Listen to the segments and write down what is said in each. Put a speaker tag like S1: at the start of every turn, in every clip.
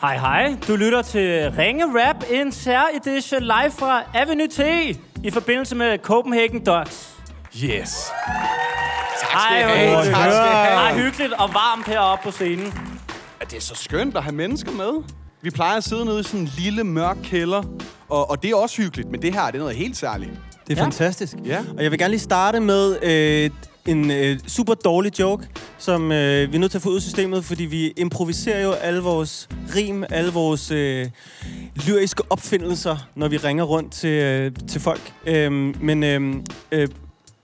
S1: Hej hej, du lytter til Ringe Rap, en særedition live fra Avenue T i forbindelse med Copenhagen Ducks.
S2: Yes.
S1: Hej,
S2: I have. Tak skal I have.
S1: Hej, hyggeligt og varmt heroppe på scenen.
S2: Ja, det er så skønt at have mennesker med. Vi plejer at sidde nede i sådan en lille mørk kælder, og, og det er også hyggeligt, men det her det er noget helt særligt.
S3: Det er
S1: Ja.
S3: ja. fantastisk.
S2: Ja.
S3: Og jeg vil gerne lige starte med øh, en øh, super dårlig joke, som øh, vi er nødt til at få ud af systemet, fordi vi improviserer jo alle vores rim, alle vores øh, lyriske opfindelser, når vi ringer rundt til, øh, til folk. Øh, men øh, øh,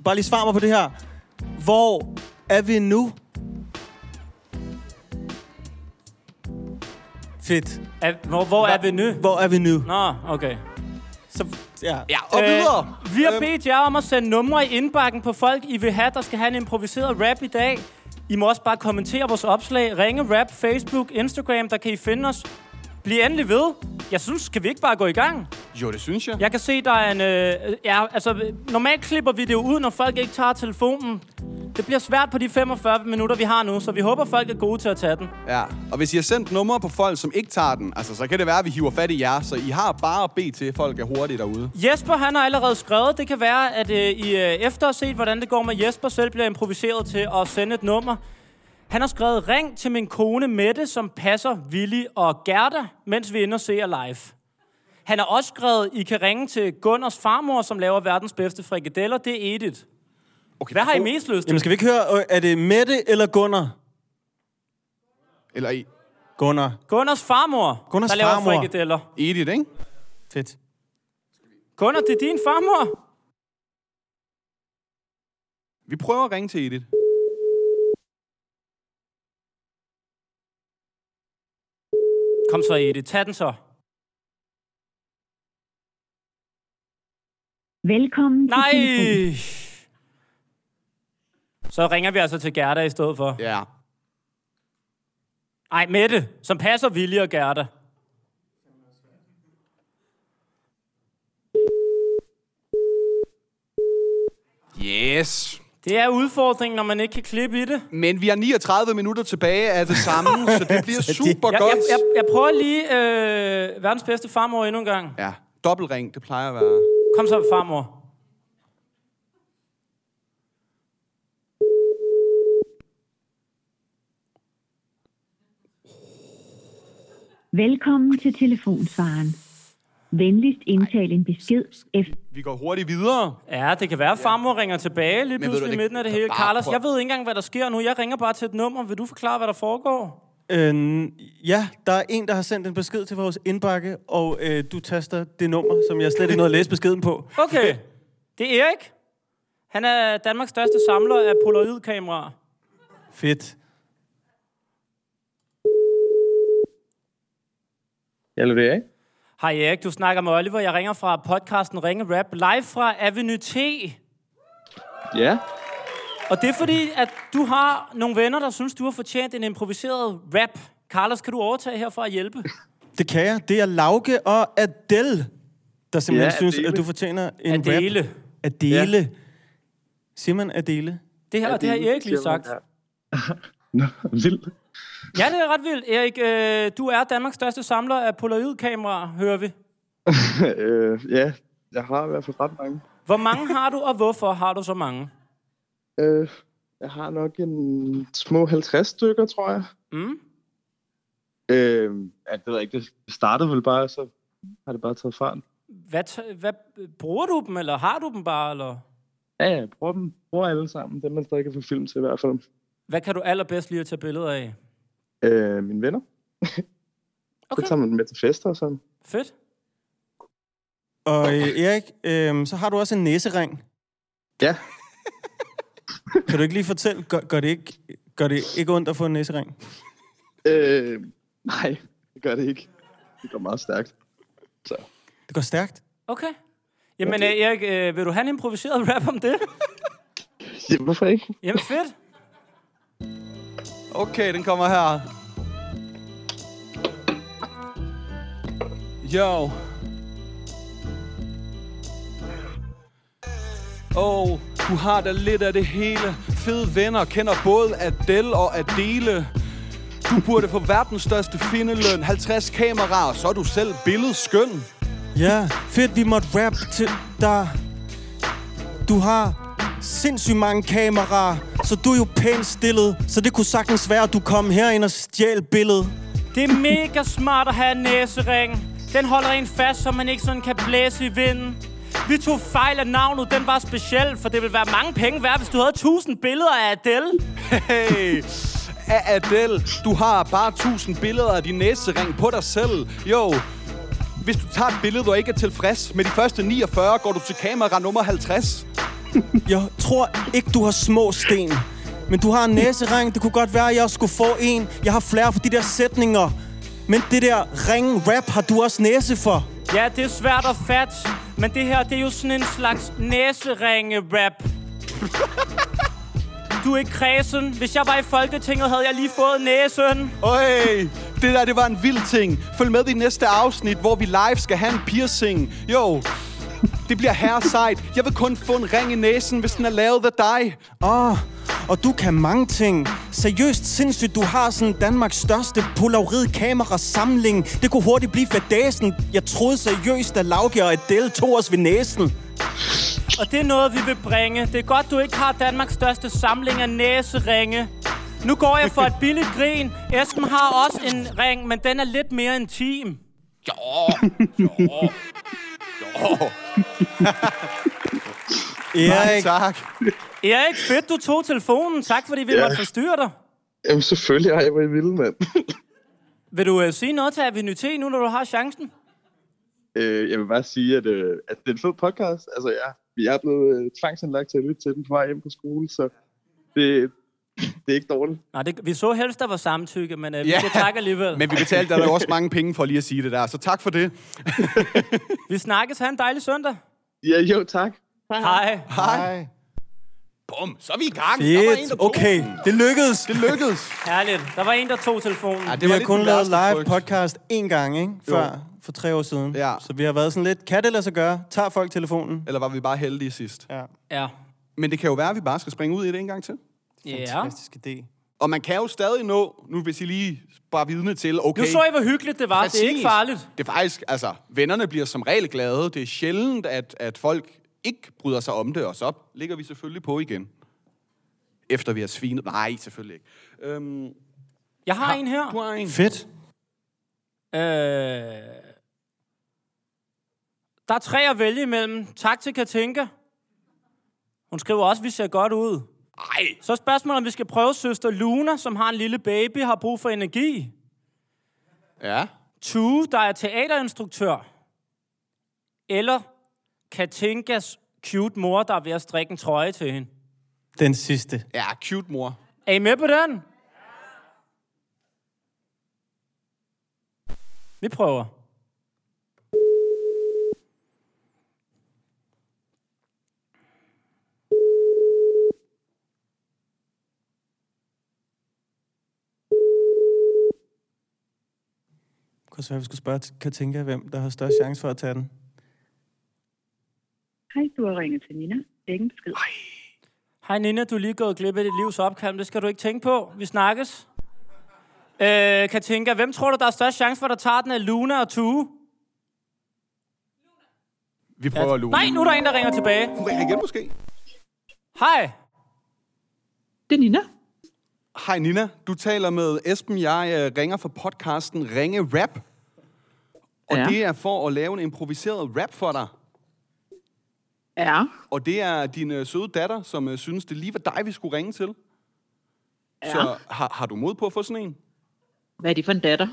S3: bare lige svar mig på det her. Hvor er vi nu? Fedt.
S1: Er, hvor, hvor er vi nu?
S3: Hvor er vi nu?
S1: Nå, okay.
S3: Så, ja.
S2: Ja, og øh, videre.
S1: vi har
S2: Øhm,
S1: bedt jer om at sende numre i indbakken på folk, I vil have, der skal have en improviseret rap i dag. I må også bare kommentere vores opslag. Ringe Rap, Facebook, Instagram, der kan I finde os. Bliv endelig ved. Jeg synes, skal vi ikke bare gå i gang?
S2: Jo, det synes jeg.
S1: Jeg kan se, der er en... Øh, ja, altså, øh, normalt klipper vi det jo ud, når folk ikke tager telefonen. Det bliver svært på de 45 minutter, vi har nu, så vi håber, folk er gode til at tage den.
S2: Ja. Og hvis I har sendt numre på folk, som ikke tager den, altså, så kan det være, at vi hiver fat i jer, så I har bare at bede til, at folk er hurtige derude.
S1: Jesper, han har allerede skrevet. Det kan være, at øh, I øh, efter at set, hvordan det går med Jesper, selv bliver improviseret til at sende et nummer. Han har skrevet, ring til min kone Mette, som passer Willy og Gerda, mens vi er inde og ser live. Han har også skrevet, I kan ringe til Gunners farmor, som laver verdens bedste frikadeller. Det er Edith.
S2: Okay,
S1: Hvad har I
S2: oh,
S1: mest lyst til?
S3: Jamen skal vi ikke høre, øh, er det Mette eller Gunnar?
S2: Eller E- I-
S3: Gunnar.
S1: Gunners farmor,
S3: Gunners
S1: der laver
S3: farmor.
S1: frikadeller.
S2: Edith, ikke?
S3: Fedt.
S1: Gunnar, det er din farmor.
S2: Vi prøver at ringe til Edith.
S1: Kom så, Edith. Tag den så.
S4: Velkommen
S1: Nej!
S4: til telefonen.
S1: Så ringer vi altså til Gerda i stedet for.
S2: Ja.
S1: Ej, Mette, som passer Vilje og Gerda.
S2: Yes.
S1: Det er udfordringen, når man ikke kan klippe i det.
S2: Men vi har 39 minutter tilbage af det samme, så det bliver super
S1: Jeg, jeg,
S2: godt.
S1: jeg, jeg prøver lige øh, verdens bedste farmor endnu en gang.
S2: Ja, dobbeltring, det plejer at være...
S1: Kom så, farmor.
S4: Velkommen til telefonsvaren. Venligst indtal en besked efter
S2: Vi går hurtigt videre.
S1: Ja, det kan være, at farmor ringer tilbage lige
S2: ved du,
S1: pludselig i
S2: det-
S1: midten af det hele.
S2: bare
S1: Carlos,
S2: prøv-
S1: jeg ved ikke engang, hvad der sker nu. Jeg ringer bare til et nummer. Vil du forklare, hvad der foregår?
S3: Øh, ja, der er en, der har sendt en besked til vores indbakke, og øh, du taster det nummer, som jeg slet ikke nåede at læse beskeden på.
S1: Okay. Det er Erik. Han er Danmarks største samler af polaroidkameraer.
S3: Fedt.
S5: Hallo, det er jeg.
S1: Hej Erik, du snakker med Oliver. Jeg ringer fra podcasten Ringe Rap live fra Avenue T.
S5: Ja.
S1: Og det er fordi, at du har nogle venner, der synes, du har fortjent en improviseret rap. Carlos, kan du overtage her for at hjælpe?
S3: Det kan jeg. Det er Lauke og Adele, der simpelthen ja,
S5: Ja,
S3: synes,
S5: Adele.
S3: at du fortjener en rap.
S1: Adele.
S3: Adele. Ja. Siger man Adele?
S1: Det her, det har Erik lige sagt.
S5: Nå, vildt.
S1: Ja, det er ret vildt. Erik, øh, du er Danmarks største samler af polaroidkameraer, hører vi.
S5: øh, ja, jeg har i hvert fald ret mange.
S1: Hvor mange har du, og hvorfor har du så mange?
S5: Øh, jeg har nok en små 50 stykker, tror jeg.
S1: Mm?
S5: Øh, ja, det ved jeg ikke. Det startede vel bare, så har det bare taget fart.
S1: Hvad, t- hvad, bruger du dem, eller har du dem bare? Eller?
S5: Ja, ja, jeg bruger dem. Bruger alle sammen. Dem, man stadig kan få film til i hvert fald.
S1: Hvad kan du allerbedst lide at tage billeder af?
S5: Øh, mine venner.
S1: Okay.
S5: Så tager man dem med til fester og sådan.
S1: Fedt.
S3: Og øh, Erik, øh, så har du også en næsering.
S5: Ja.
S3: Kan du ikke lige fortælle, gør, gør, det ikke, gør det ikke ondt at få en næsering?
S5: Øh, nej, det gør det ikke. Det går meget stærkt. Så.
S3: Det går stærkt.
S1: Okay. Jamen, øh, Erik, øh, vil du have en improviseret rap om det?
S5: Ja, hvorfor ikke?
S1: Jamen, fedt.
S2: Okay, den kommer her. Yo. Oh, du har da lidt af det hele. Fede venner, kender både Adele og Adele. Du burde få verdens største findeløn, 50 kameraer, så er du selv billedskøn.
S3: Ja, fedt, vi måtte rap til dig. Du har sindssygt mange kameraer, så du er jo pænt stillet. Så det kunne sagtens være, at du kom herind og stjæl billedet.
S1: Det er mega smart at have en næsering. Den holder en fast, så man ikke sådan kan blæse i vinden. Vi tog fejl af navnet, den var speciel, for det ville være mange penge værd, hvis du havde 1000 billeder af Adele.
S2: Hey, A- Adele, du har bare 1000 billeder af din næsering på dig selv. Jo, hvis du tager et billede, hvor du ikke er tilfreds, med de første 49 går du til kamera nummer 50.
S3: Jeg tror ikke, du har små sten. Men du har en næsering. Det kunne godt være, at jeg skulle få en. Jeg har flere for de der sætninger. Men det der ring rap har du også næse for.
S1: Ja, det er svært at fatte, men det her, det er jo sådan en slags næseringe-rap. Du er ikke kredsen. Hvis jeg var i Folketinget, havde jeg lige fået næsen.
S2: Øj, det der, det var en vild ting. Følg med i næste afsnit, hvor vi live skal have en piercing. Jo, det bliver herre sejt. Jeg vil kun få en ring i næsen, hvis den er lavet af dig.
S3: Åh, oh, og du kan mange ting. Seriøst sindssygt, du har sådan Danmarks største polaroid-kamerasamling. Det kunne hurtigt blive fadæsen. Jeg troede seriøst, at Lauke og Adele tog os ved næsen.
S1: Og det er noget, vi vil bringe. Det er godt, du ikke har Danmarks største samling af næseringe. Nu går jeg for et billigt grin. Esben har også en ring, men den er lidt mere intim.
S3: Erik,
S2: tak.
S1: Erik, fedt, du tog telefonen. Tak, fordi vi
S5: Ja.
S1: måtte forstyrre dig.
S5: Jamen selvfølgelig har jeg været vild, mand.
S1: Vil du øh, sige noget til Avenue T, nu når du har chancen?
S5: øh, jeg vil bare sige, at, øh, at det er en fed podcast. Altså, jeg, jeg er blevet øh, tvangsindlagt til at lytte til den på vej hjem på skole, så det, det er ikke dårligt.
S1: Nej, det, vi så helst, der var samtykke, men øh, vi
S2: Ja.
S1: siger tak alligevel. Men...
S2: Men vi betalte dig jo også mange penge for lige at sige det der, så tak for det.
S1: Vi snakkes. Ha' en dejlig søndag.
S5: Ja, jo, tak.
S1: Hej.
S2: Hej. Bum, så er vi i gang. Der var en,
S3: fedt.
S2: der tog
S3: Okay,
S2: den.
S3: det lykkedes.
S2: Det lykkedes.
S1: Herligt. Der var en, der tog telefonen.
S2: Ja, det
S3: Vi
S2: var
S3: har
S2: lidt
S3: kun
S2: den
S3: lavet
S2: værste
S3: live
S2: frygt.
S3: podcast én gang, ikke? Før, for tre år siden.
S2: Ja.
S3: Så vi har været sådan lidt, kan det lade sig gøre? Tager folk telefonen?
S2: Eller var vi bare heldige sidst?
S3: Ja.
S1: Ja.
S2: Men det kan jo være, at vi bare skal springe ud i det en gang til.
S1: ja.
S3: Fantastisk idé.
S2: Og man kan jo stadig nå, nu hvis I lige bare vidne til, okay...
S1: Nu så I, hvor hyggeligt det var. Det er ikke
S2: Præcis.
S1: farligt.
S2: Det er faktisk, altså, vennerne bliver som regel glade. Det er sjældent, at, at folk ikke bryder sig om det, og så ligger vi selvfølgelig på igen. Efter vi har svinet. Nej, selvfølgelig ikke. Øhm,
S1: Jeg har en her.
S2: du har en.
S3: Fedt.
S1: Øh, der er tre at vælge imellem. Tak til Katinka. Hun skriver også, at vi ser godt ud.
S2: Ej,
S1: Så er spørgsmålet, om vi skal prøve søster Luna, som har en lille baby, har brug for energi.
S2: ja.
S1: Tue, der er teaterinstruktør. Eller Katinkas cute mor, der er ved at strikke en trøje til hende.
S3: Den sidste.
S2: Ja, cute mor.
S1: Er I med på den? Vi prøver.
S3: Det kunne også være, at vi skulle spørge Katinka, hvem der har størst chance for at tage den.
S4: Hej, du har ringet til Nina. Læg en besked.
S1: Hej Nina, du er lige gået glip af dit livs opkald, men det skal du ikke tænke på. Vi snakkes. Øh, Katinka, hvem tror du, der er størst chance for, at der tager den af Luna og Tue?
S2: Vi prøver at lue.
S1: Nej, nu er der en, der ringer tilbage.
S2: Hun ringer igen måske.
S1: Hej.
S6: Det er Nina.
S2: Hej Nina, du taler med Esben. Jeg øh, ringer fra podcasten Ringe Rap. Og
S6: Ja.
S2: det er for at lave en improviseret rap for dig.
S6: Ja.
S2: Og det er din øh, søde datter, som øh, synes, det lige var dig, vi skulle ringe til. Ja. Så har, har du mod på at få sådan en?
S6: Hvad er det for en datter?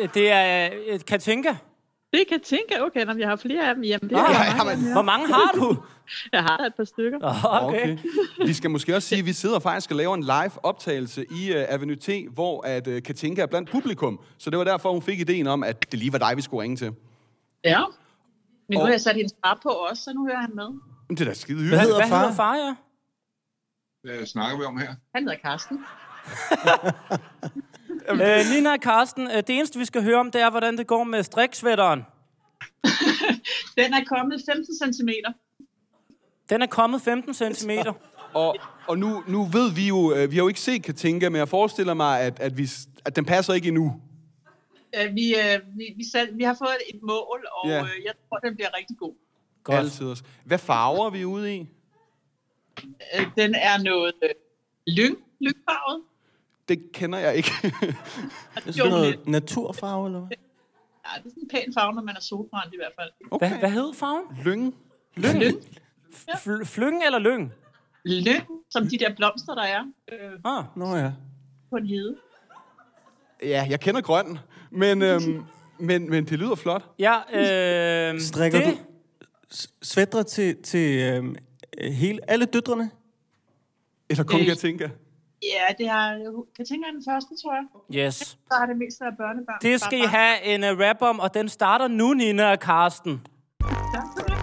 S1: Øh, Det er øh, Katinka.
S6: Det kan jeg tænke. Okay, nå, men jeg har flere af dem hjemme. Det
S1: Ah,
S6: er
S1: ja,
S6: jeg,
S2: men-
S1: Hvor mange har du?
S6: jeg har et par stykker.
S1: Okay.
S2: Vi skal måske også sige, at vi sidder faktisk og laver en live optagelse i uh, Avenue T, hvor at uh, Katinka er blandt publikum. Så det var derfor, hun fik ideen om, at det lige var dig, vi skulle ringe til.
S6: Ja. Men nu
S2: Og-
S6: har jeg sat hendes far på også, så nu hører han med.
S2: Men det er da skide
S1: Hvad
S2: hyggeligt.
S1: hedder
S3: hedder
S1: far? Hvad hedder
S3: far?
S1: far, ja?
S7: Hvad snakker vi om her?
S6: Han hedder Karsten.
S1: Øh, Nina og Karsten, øh, det eneste, vi skal høre om, det er, hvordan det går med striksvætteren.
S6: Den er kommet 15 cm.
S1: Den er kommet 15 cm.
S2: Og, og nu, nu ved vi jo, øh, vi har jo ikke set Katinka, men jeg forestiller mig, at, at, vi, s- at den passer ikke endnu.
S6: Øh, vi, øh, vi, vi, sat, vi har fået et mål, og
S2: Ja.
S6: øh, jeg tror, den bliver rigtig god.
S1: Godt.
S2: Altid også. Hvad farver er vi ude i?
S6: Øh, den er noget øh, lyng, lyngfarvet.
S2: Det kender jeg ikke.
S3: Det er
S6: Jo,
S3: sådan noget
S6: lidt.
S3: naturfarve, eller hvad?
S6: Ja, det er sådan en pæn farve, når man er solbrændt i hvert fald.
S1: Hva, hvad hed farven?
S2: Lyng.
S1: Lyng? Fl- flyng eller lyng?
S6: Lyng, som de der blomster, der er øh,
S1: Ah,
S3: Nå ja.
S6: på en hede.
S2: Ja, jeg kender grøn, men, øhm, men, men det lyder flot.
S1: ja, øh,
S3: Strikker
S1: det,
S3: du s- svætter til, til øhm, øh, hele, alle døtrene?
S2: Eller kun
S6: Øh.
S2: Katinka.
S6: Ja, det har, jeg tænker, den første, tror jeg.
S1: Yes.
S6: Så har det mest været børnebørn.
S1: Det skal I
S6: Barbarn.
S1: have en uh, rap om, og den starter nu, Nina og Karsten.
S6: Tak for det.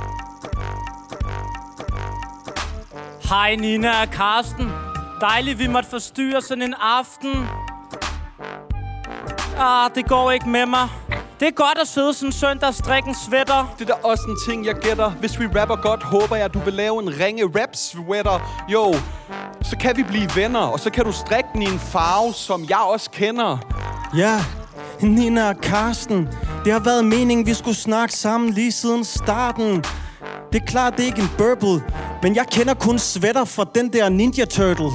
S1: Hej Nina og Karsten. Dejligt, vi måtte forstyrre sådan en aften. Ah, det går ikke med mig. Det er godt at sidde sådan en søndag og strikke en sweater.
S2: Det er da også en ting, jeg gætter. Hvis vi rapper godt, håber jeg, du vil lave en ringe rap sweater. Jo, så kan vi blive venner, og så kan du strikke den i en farve, som jeg også kender.
S3: Ja, Nina og Karsten. Det har været meningen, vi skulle snakke sammen lige siden starten. Det er klart, det er ikke en burble, men jeg kender kun sweater fra den der Ninja Turtles.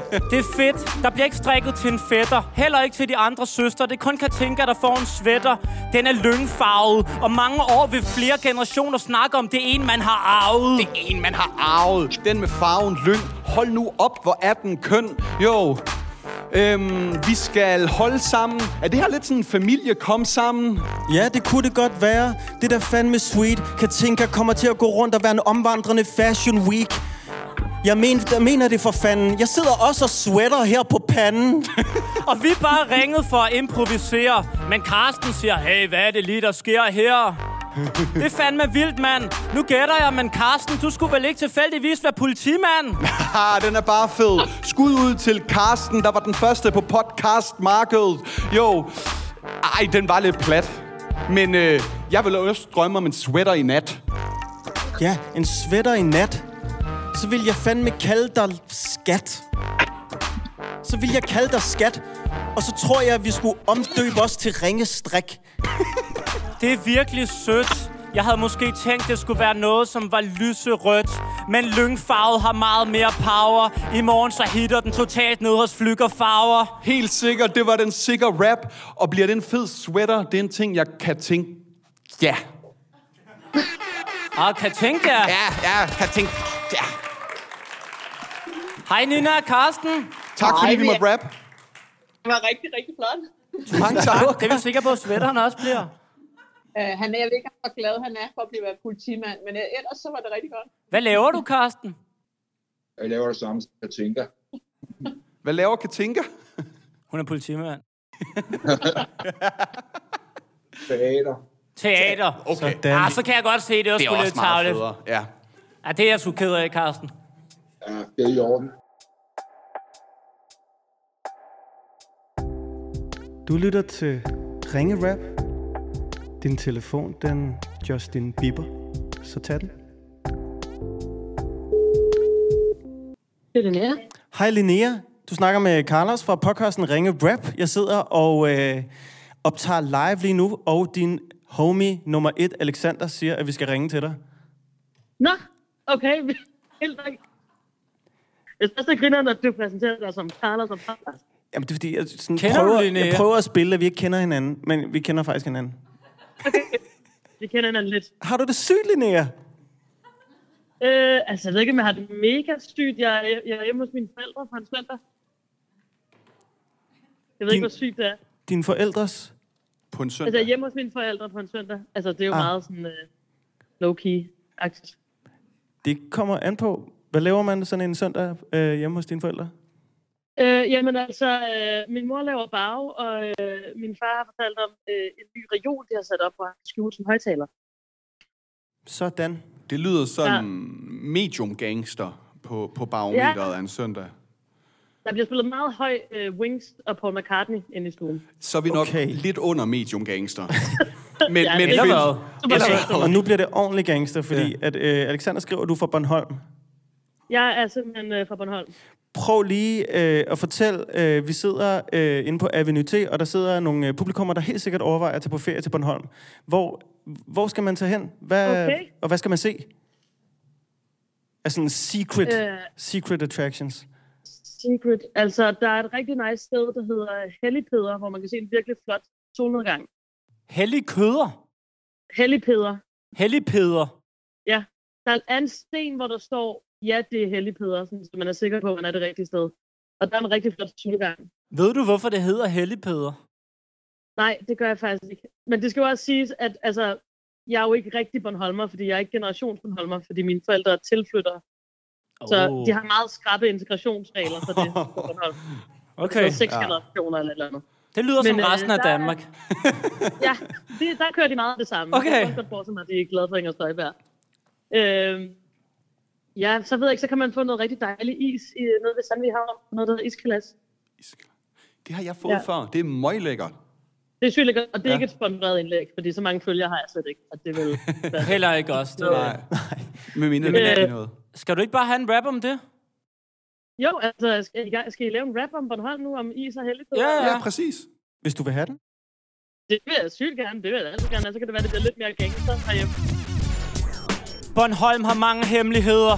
S1: Det er fedt. Der bliver ikke strikket til en fætter. Heller ikke til de andre søstre. Det er kun Katinka, der får en sweater. Den er lyngfarvet. Og mange år vil flere generationer snakke om det en, man har arvet. Det
S2: En, man har arvet. Den med farven lyng. Hold nu op, hvor er den køn. Jo, øhm, vi skal holde sammen. Er det her lidt sådan en familie kom sammen?
S3: Ja, det kunne det godt være. Det der fandme sweet. Katinka kommer til at gå rundt og være en omvandrende fashion week. Jeg mener, jeg mener det for fanden. Jeg sidder også og sweater her på panden.
S1: Og vi er bare ringet for at improvisere. Men Karsten siger, hey, hvad er det lige, der sker her? Det er fandme vildt, mand. Nu gætter jeg, men Karsten, du skulle vel ikke tilfældigvis være politimand?
S2: Ah, den er bare fed. Skud ud til Karsten, der var den første på podcastmarkedet. Jo, ej, den var lidt plat. Men øh, jeg vil også drømme om en sweater i nat.
S3: Ja, en sweater i nat. Så vil jeg fandme kalde dig skat. Så vil jeg kalde dig skat. Og så tror jeg, at vi skulle omdøbe os til ringestrik.
S1: Det er virkelig sødt. Jeg havde måske tænkt, det skulle være noget, som var lyserødt. Men lyngfarvet har meget mere power. I morgen så hitter den totalt ned hos flykkerfarver.
S2: Helt sikkert, det var den sikre rap. Og bliver det en fed sweater, det er en ting, jeg kan tænke... Ja.
S1: Og Katinka. Ja.
S2: Ja, ja, kan tænke... Ja.
S1: Hej Nina og Karsten.
S2: Tak
S6: Ej,
S2: fordi vi
S6: vi-
S2: måtte rap.
S6: Det var rigtig, rigtig flot.
S2: Mange tak.
S1: Det er vi sikre på, at sweateren også bliver.
S6: Uh, han er, jeg ved ikke, hvor glad han er for at blive politimand, men uh, ellers så var det rigtig godt.
S1: Hvad laver du, Karsten?
S7: Jeg laver det samme, som jeg tænker.
S2: Hvad laver Katinka?
S1: Hun er politimand.
S7: Teater.
S1: Teater.
S2: Okay.
S3: Dan,
S1: Ah, så kan jeg godt se, det er også, det er lidt tavligt.
S2: Ja.
S1: Ja, det er jeg sgu ked af, Karsten.
S7: Ja, det er i orden.
S8: Du lytter til Ringe Rap. Din telefon, den Justin Bieber. Så tag den.
S6: Det er den her.
S3: Hej Linnea. Du snakker med Carlos fra podcasten Ringe Rap. Jeg sidder og øh, optager live lige nu, og din homie nummer et, Alexander, siger, at vi skal ringe til dig.
S9: Nå, okay. Helt nok. Jeg synes, det griner, at du præsenterer dig som Carlos og Carlos.
S3: Jamen, det er fordi, jeg, sådan,
S1: Kender du
S3: prøver,
S1: Linnea?
S3: jeg prøver at spille, at vi ikke kender hinanden, men vi kender faktisk hinanden.
S9: Vi kender hinanden lidt.
S3: Har du det sygt, Linnea?
S9: Øh, altså, jeg ved ikke, om jeg har det mega sygt. Jeg er, jeg er hjemme hos mine forældre på en søndag. Jeg ved
S3: Din-
S9: ikke, hvor sygt det er.
S3: Dine forældres
S2: På en
S9: Altså, jeg er
S2: søndag.
S9: hjemme hos mine forældre på en søndag. Altså, det er jo ah. meget sådan øh, low-key-agtigt.
S3: Det kommer an på. Hvad laver man sådan en søndag øh, hjemme hos dine forældre?
S9: Øh, jamen altså, øh, min mor laver bag, og øh, min far har fortalt om øh, en ny region, de har sat op, hvor han kan skjule som højtaler.
S3: Sådan.
S2: Det lyder sådan medium gangster på, på barometeret ja. af en søndag.
S9: Der bliver spillet meget høj øh, Wings og Paul McCartney inde i stuen.
S2: Så er vi nok
S3: Okay.
S2: okay. lidt under medium gangster. men,
S9: Ja,
S2: men
S1: Eller
S2: fedt.
S1: hvad?
S9: Super fedt.
S3: Og nu bliver det ordentlig gangster, fordi ja. at, øh, Alexander skriver, at du er fra Bornholm.
S9: Jeg er simpelthen øh, fra Bornholm.
S3: Prøv lige øh, at fortælle, øh, vi sidder øh, inde på Avenue T, og der sidder nogle øh, publikummer, der helt sikkert overvejer at tage på ferie til Bornholm. Hvor, hvor skal man tage hen? Hvad,
S9: Okay.
S3: Og hvad skal man se? Altså sådan secret,
S9: Øh.
S3: øh. secret attractions.
S9: Secret. Altså, der er et rigtig nice sted, der hedder Helligpeder, hvor man kan se en virkelig flot solnedgang.
S1: Hellig køder.
S9: Helligpeder.
S1: Hellig peder.
S9: Der er en sten, hvor der står, ja, det er Helligpeder, sådan, så man er sikker på, at man er det rigtige sted. Og der er en rigtig flot solnedgang.
S1: Ved du, hvorfor det hedder hellig peder?
S9: Nej, det gør jeg faktisk ikke. Men det skal jo også siges, at altså, jeg er jo ikke rigtig Bornholmer, fordi jeg er ikke generationsbornholmer, fordi mine forældre er tilflyttere. Oh. Så de har meget skrappe integrationsregler for det på Bornholm.
S1: Okay,
S9: Okay. Så Altså, seks ja. generationer eller et eller andet.
S1: det lyder som
S9: Men, øh,
S1: resten af
S9: der er-
S1: Danmark.
S9: Ja, det, der kører de meget af det samme.
S1: Okay.
S9: Jeg kan også godt forestille mig, at de er glade for Inger Støjberg. Øhm, ja, så ved jeg ikke, så kan man få noget rigtig dejlig is i, øh, nede ved Sandvig Havn. Noget, der hedder iskalas.
S2: Det har jeg fået ja.
S9: Ja.
S2: før. Det er møglækkert.
S9: Det er sygt lækkert, og det er
S2: Ja.
S9: ja. ikke et sponsoreret indlæg, fordi så mange følgere har jeg slet ikke. At det vil være.
S1: Heller ikke os. Det.
S2: Nej. Med mindre
S9: Jamen,
S2: det er
S9: øh,
S2: noget.
S1: Skal du ikke bare have en rap om det?
S9: Jo, altså, skal I, gang- skal I lave en rap om Bornholm nu, om is og heldigt?
S1: Ja,
S2: Ja, præcis.
S3: Hvis du vil have den.
S9: Det vil jeg sygt gerne, det vil jeg altid gerne. og Så kan det være, det bliver lidt mere gangster herhjemme.
S1: Bornholm har mange hemmeligheder.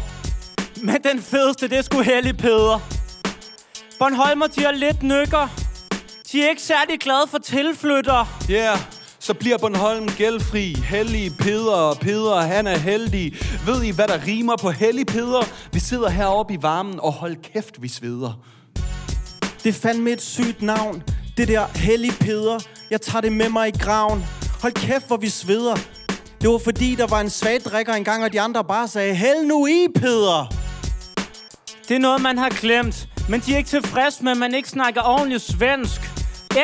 S1: Men den fedeste, det er sgu Hellig Peder. Bornholmer, de har lidt nykker. De er ikke særlig glade for tilflyttere.
S2: Ja, yeah. så bliver Bornholm gældfri. Hellig Peder, og Peder, han er heldig. Ved I, hvad der rimer på hellig Peder? Vi sidder heroppe i varmen, og hold kæft, vi sveder.
S3: Det er fandme et sygt navn. Det der hellige peder. Jeg tager det med mig i graven. Hold kæft, hvor vi sveder. Det var fordi, der var en svagdrikker engang, og de andre bare sagde, Held nu i, Peder!
S1: Det er noget, man har glemt. Men de er ikke tilfredse med, at man ikke snakker ordentligt svensk.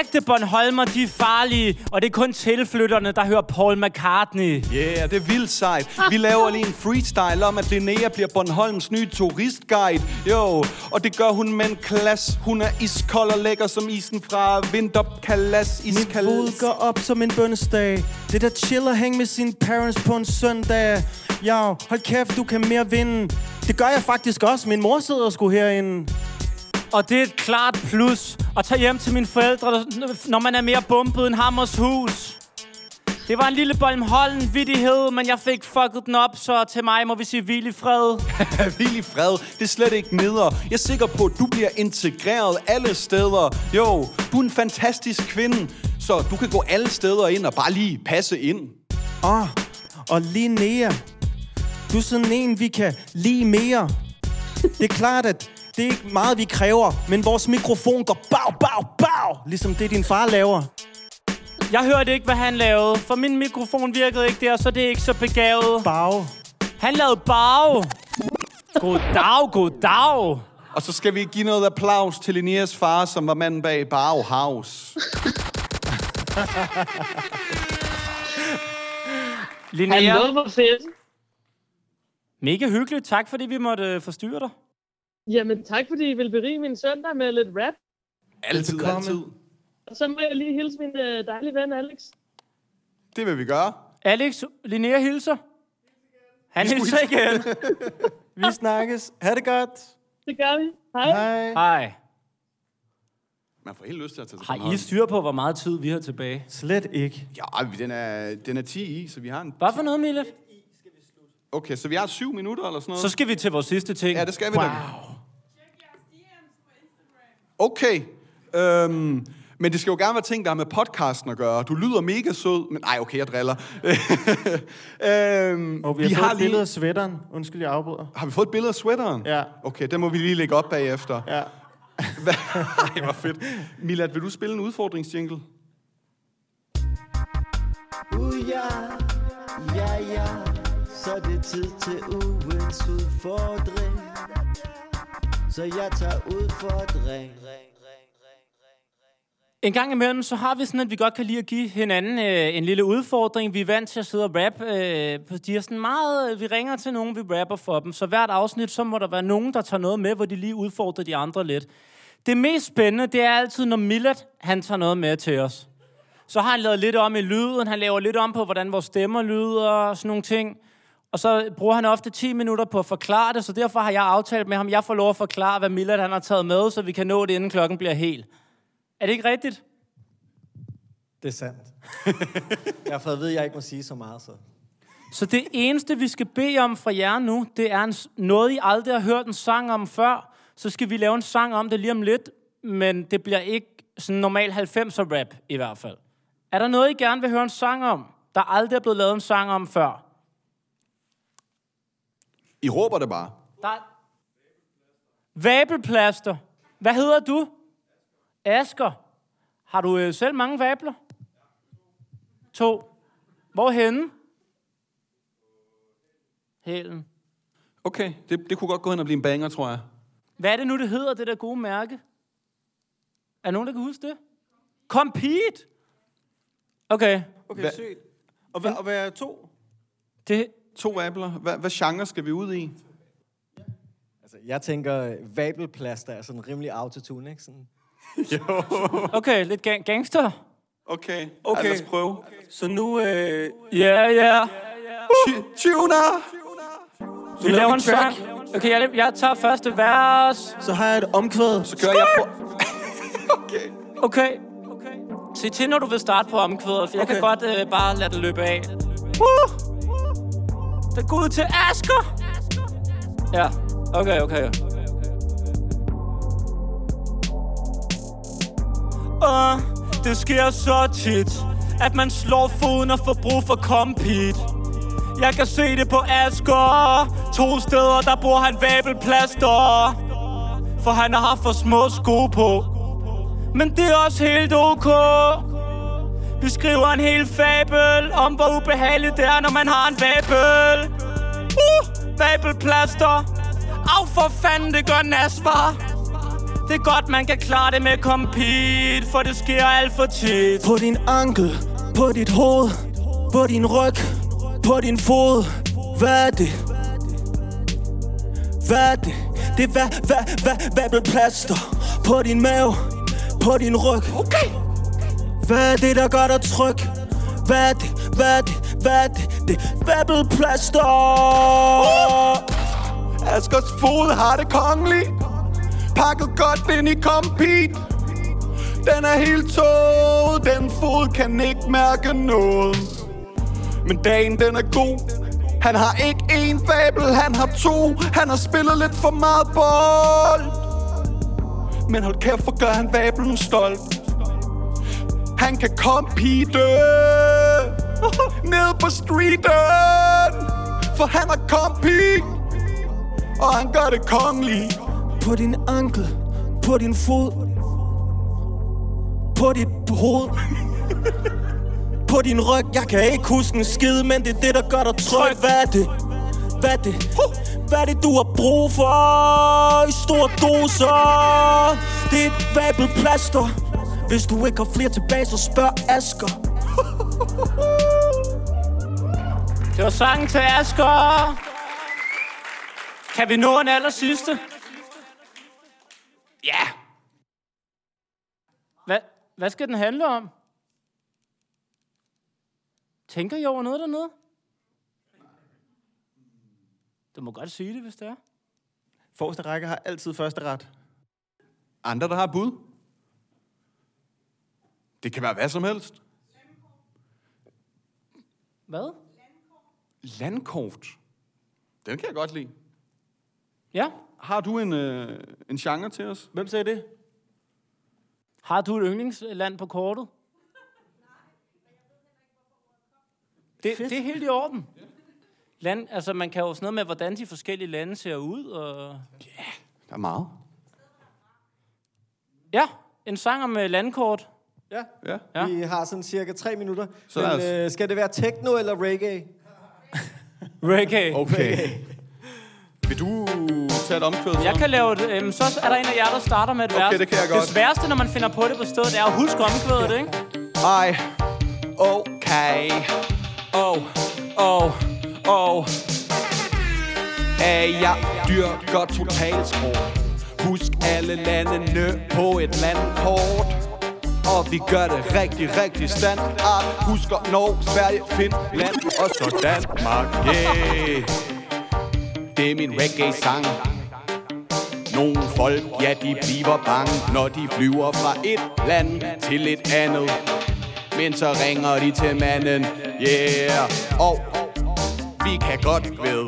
S1: Ægte Bornholmer, de er farlige, og det er kun tilflytterne, der hører Paul McCartney.
S2: Yeah, det er vildt sejt. Vi laver lige en freestyle om, at Linnea bliver Bornholms nye turistguide. Jo, og det gør hun med en klasse. Hun er iskold og lækker som isen fra vinterkalas.
S3: Niveauet
S2: Iskalas.
S3: går op som en bønnesdag. Det der chill at hænge med sine parents på en søndag. Ja, hold kæft, du kan mere vinde. Det gør jeg faktisk også. Min mor sidder sgu herinde.
S1: Og det er et klart plus at tage hjem til mine forældre, når man er mere bumpet end Hammers hus. Det var en lille Bornholm vittighed, men jeg fik fucket den op, så til mig må vi sige hvil i fred.
S2: Hvil i fred. Det er slet ikke neder. Jeg er sikker på, at du bliver integreret alle steder. Jo, du er en fantastisk kvinde. Så du kan gå alle steder ind og bare lige passe ind.
S3: Åh, Ah, og Linnea. Du er sådan en, vi kan lige mere. Det er klart, at det er ikke meget, vi kræver, men vores mikrofon går bag, bag, bag, ligesom det, din far laver.
S1: Jeg hørte ikke, hvad han lavede, for min mikrofon virkede ikke der, så det er ikke så begavet.
S3: Bag.
S1: Han lavede bag. Goddag, goddag.
S2: Og så skal vi give noget applaus til Linneas far, som var manden bag Bauhaus.
S1: Linnea,
S9: Hallo, hvor fedt.
S1: mega hyggeligt. Tak, fordi vi måtte øh, forstyrre dig.
S9: Jamen, tak fordi I vil berige min søndag med lidt rap.
S2: Altid, altid.
S9: Og så må jeg lige hilse min øh, dejlige ven, Alex.
S2: Det vil vi gøre.
S1: Alex, Linnea hilser. Han hilser igen.
S3: Vi snakkes. Ha' det godt.
S9: Det gør vi. Hej. Hej.
S1: Hej.
S2: Man får helt lyst til at tage til
S1: Har I styr på, hvor meget tid vi har tilbage?
S3: Slet ikke.
S2: Ja, vi- den er, den er 10 i, så vi har en...
S1: Hvad for noget, Mille?
S2: Okay, så vi har syv minutter eller sådan noget?
S1: Så skal vi til vores sidste ting.
S2: Ja, det skal vi
S1: wow.
S2: da. Okay. Øhm, men det skal jo gerne være ting, der har med podcasten at gøre. Du lyder mega sød, men... Nej, okay, jeg driller. øhm,
S3: Og vi har, fået et billede af sweateren. Undskyld, jeg afbryder.
S2: Har vi fået et billede af sweateren?
S3: Ja.
S2: Okay, den må vi lige lægge op bagefter.
S3: Ja.
S2: Hva- Ej, hvor fedt. Milad, vil du spille en udfordringsjingle?
S10: Uja, ja, ja, så det er tid til ugens udfordring. Så jeg tager udfordring.
S1: En gang imellem, så har vi sådan, at vi godt kan lide at give hinanden øh, en lille udfordring. Vi er vant til at sidde og rap. Øh, på, de er sådan meget, øh, vi ringer til nogen, vi rapper for dem. Så hvert afsnit, så må der være nogen, der tager noget med, hvor de lige udfordrer de andre lidt. Det mest spændende, det er altid, når Millet, han tager noget med til os. Så har han lavet lidt om i lyden, han laver lidt om på, hvordan vores stemmer lyder og sådan nogle ting. Og så bruger han ofte 10 minutter på at forklare det, så derfor har jeg aftalt med ham, jeg får lov at forklare, hvad Millard han har taget med, så vi kan nå det, inden klokken bliver helt. Er det ikke rigtigt?
S11: Det er sandt. jeg har fået at vide, at jeg ikke må sige så meget, så.
S1: Så det eneste, vi skal bede om fra jer nu, det er en, s- noget, I aldrig har hørt en sang om før. Så skal vi lave en sang om det lige om lidt, men det bliver ikke sådan normal 90'er rap i hvert fald. Er der noget, I gerne vil høre en sang om, der aldrig er blevet lavet en sang om før?
S2: I råber det bare.
S1: Der... Vabelplaster. Hvad hedder du? Asker. Har du øh, selv mange vabler? To. Hvorhenne? Hælen.
S2: Okay, det, det kunne godt gå hen og blive en banger, tror jeg.
S1: Hvad er det nu, det hedder, det der gode mærke? Er nogen, der kan huske det? Compete! Okay.
S3: Okay, sygt. Og hvad, og hvad er to?
S1: Det...
S2: To æbler. Hvad, hvad genre skal vi ud i?
S11: Altså, jeg tænker, vabelplaster er sådan rimelig autotune, ikke? Sådan.
S2: jo.
S1: Okay, lidt gang gangster.
S2: Okay,
S3: Okay.
S2: lad os prøve.
S3: Så nu... Øh,
S1: Ja, ja.
S2: Tuner!
S1: Vi laver en sang. Okay, jeg, jeg tager første vers.
S3: Så har jeg et omkvæd.
S2: Så gør jeg...
S1: Okay. Se til, når du vil starte på omkvædet, for jeg kan godt øh, bare lade det løbe af. Uh! Det går ud til Asker! Ja, okay, okay. Og det sker så tit, at man slår foden og får brug for kompit. Jeg kan se det på Asger. To steder, der bruger han vabelplaster. For han har haft for små sko på. Men det er også helt ok. Vi skriver en hel fabel om, hvor ubehageligt det er, når man har en vabel. Uh, vabelplaster. Af for fanden, det gør nasvar. Det er godt, man kan klare det med kompit, for det sker alt for tit.
S3: På din ankel, på dit hoved, på din ryg, på din fod. Hvad er det? Hvad er det? Det er hvad, hvad, hvad, hvad blev plaster? På din mave, på din ryg. Okay. Hvad er det, der gør dig tryg? Hvad er det? Hvad er det? Hvad er det? Det er hvad blev plaster?
S2: Askers fod har det kongelig. Pakket godt ind i kompit. Den er helt tåget. Den fod kan ikke mærke noget. Men dagen den er god. Han har ikke én fabel, han har to. Han har spillet lidt for meget bold. Men hold kæft, for gør han fabelen stolt. Han kan kompite ned på streeten. For han har kompit og han gør det kongelig.
S3: På din ankel, på din fod, på dit hoved. På din ryg, jeg kan ikke huske en skid, men det er det, der gør dig tryg. Hvad er det? Hvad er det? Hvad er det, du har brug for i store doser? Det er et vabelplaster. Hvis du ikke har flere tilbage, så spørg Asger.
S1: Det var sangen til Asger. Kan vi nå en aller sidste? Ja. Hvad, hvad skal den handle om? Tænker I over noget dernede? Du må godt sige det, hvis det er.
S3: Forreste række har altid første ret.
S2: Andre, der har bud? Det kan være hvad som helst.
S1: Hvad?
S2: Landkort. Den kan jeg godt lide.
S1: Ja.
S2: Har du en, øh, en genre til os?
S3: Hvem sagde det?
S1: Har du et yndlingsland på kortet? Det, det er helt i orden. Land, altså man kan jo sådan noget med, hvordan de forskellige lande ser ud. Og...
S2: Der er meget.
S1: Ja, en sang om øh, landkort.
S11: Ja.
S2: Ja.
S11: ja. Vi har sådan cirka tre minutter.
S2: Så
S11: Så
S2: lad
S11: Men,
S2: os-
S11: øh, skal det være techno eller reggae?
S1: Reggae.
S2: Okay. Vil du tage et omkvæd?
S1: Jeg kan lave det. Øhm, så er der en af jer, der starter med et vers.
S2: det kan jeg godt.
S1: Det sværeste, når man finder på det på stedet, er at huske omkvædet, ikke?
S2: Ej. Okay. Oh. Oh. Oh. Er jeg dyrker totalsport? Husk alle landene på et landkort.
S12: Og vi gør det rigtig, rigtig standard Husker Norge, Sverige, Finland og så Danmark Yeah Det er min reggae-sang nogle folk, ja, de bliver bange, når de flyver fra et land til et andet. Men så ringer de til manden, yeah, og vi kan godt ved.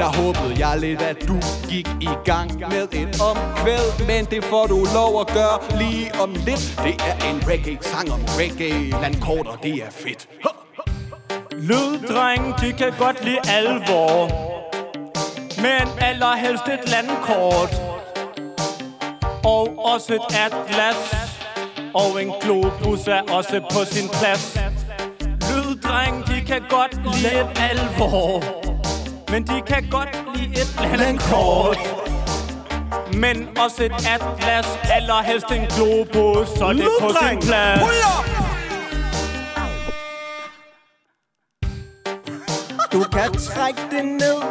S12: Der håbede jeg lidt, at du gik i gang med en omkvæd, men det får du lov at gøre lige om lidt. Det er en reggae-sang om reggae, landkort, og det er fedt.
S1: Lyddrenge, de kan godt lide alvor. Men allerhelst et landkort. Og også et atlas. Og en globus er også på sin plads. Lyddrenge, de kan godt lide et alvor. Men de kan godt lide et landkort. Men også et atlas, allerhelst en globus, så det er på sin
S13: Lyddreng,
S1: plads.
S13: pull
S3: Du kan trække det ned.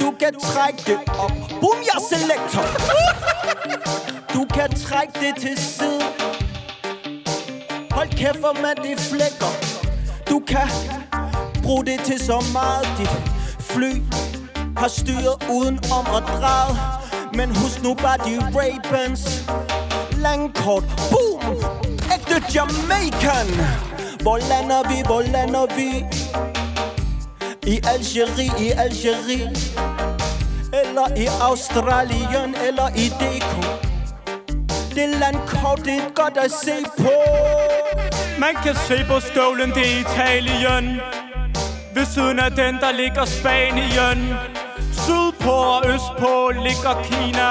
S3: Du kan trække det op. Boom, jeg er selektor. Du kan trække det til side. Hold kæft, hvor mand, det flækker. Du kan bruge det til så meget. Dit fly har styret uden om at dreje. Men husk nu bare de Ravens. Langkort. Boom! Ægte Jamaican. Hvor lander vi? Hvor lander vi? I Algeri, i Algeri Eller i Australien, eller i DK Det landkort, det er godt at se på
S1: Man kan se på støvlen, det er Italien Ved siden af den, der ligger Spanien Sydpå og østpå ligger Kina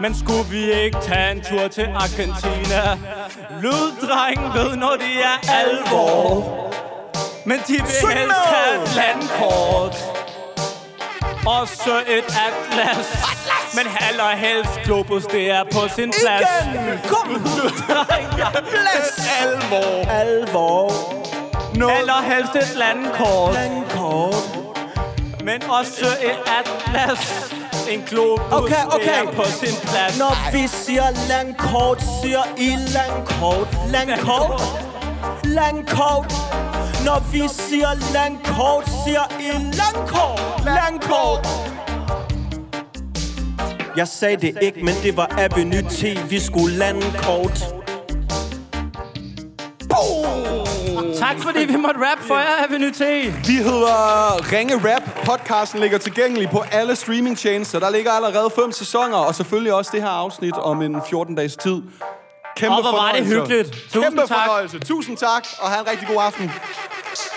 S1: Men skulle vi ikke tage en tur til Argentina? Lyddreng ved, når det er alvor Men de vil helst have et landkort Også et atlas Men allerhelst Globus, det er på sin plads
S3: Igen, kom
S1: Plads Alvor
S3: Alvor
S1: no. Allerhelst et landkort
S3: Landkort
S1: Men også et atlas En globus,
S3: Okay, okay.
S1: det er på sin plads
S3: Når vi siger landkort, siger I landkort Landkort Landkort Når vi siger landkort, siger I landkort Landkort Jeg sagde det ikke, men det var Avenue T Vi skulle landkort
S1: Tak fordi vi måtte rap for jer, Avenue T.
S12: Vi hedder Ringe Rap. Podcasten ligger tilgængelig på alle streamingtjenester. Der ligger allerede fem sæsoner, og selvfølgelig også det her afsnit om en 14-dages tid. Kæmpe
S1: Og hvor var det
S12: fornøjelse.
S1: hyggeligt. Tusind
S12: Kæmpe
S1: tak.
S12: fornøjelse. Tusind tak, og have en rigtig god aften.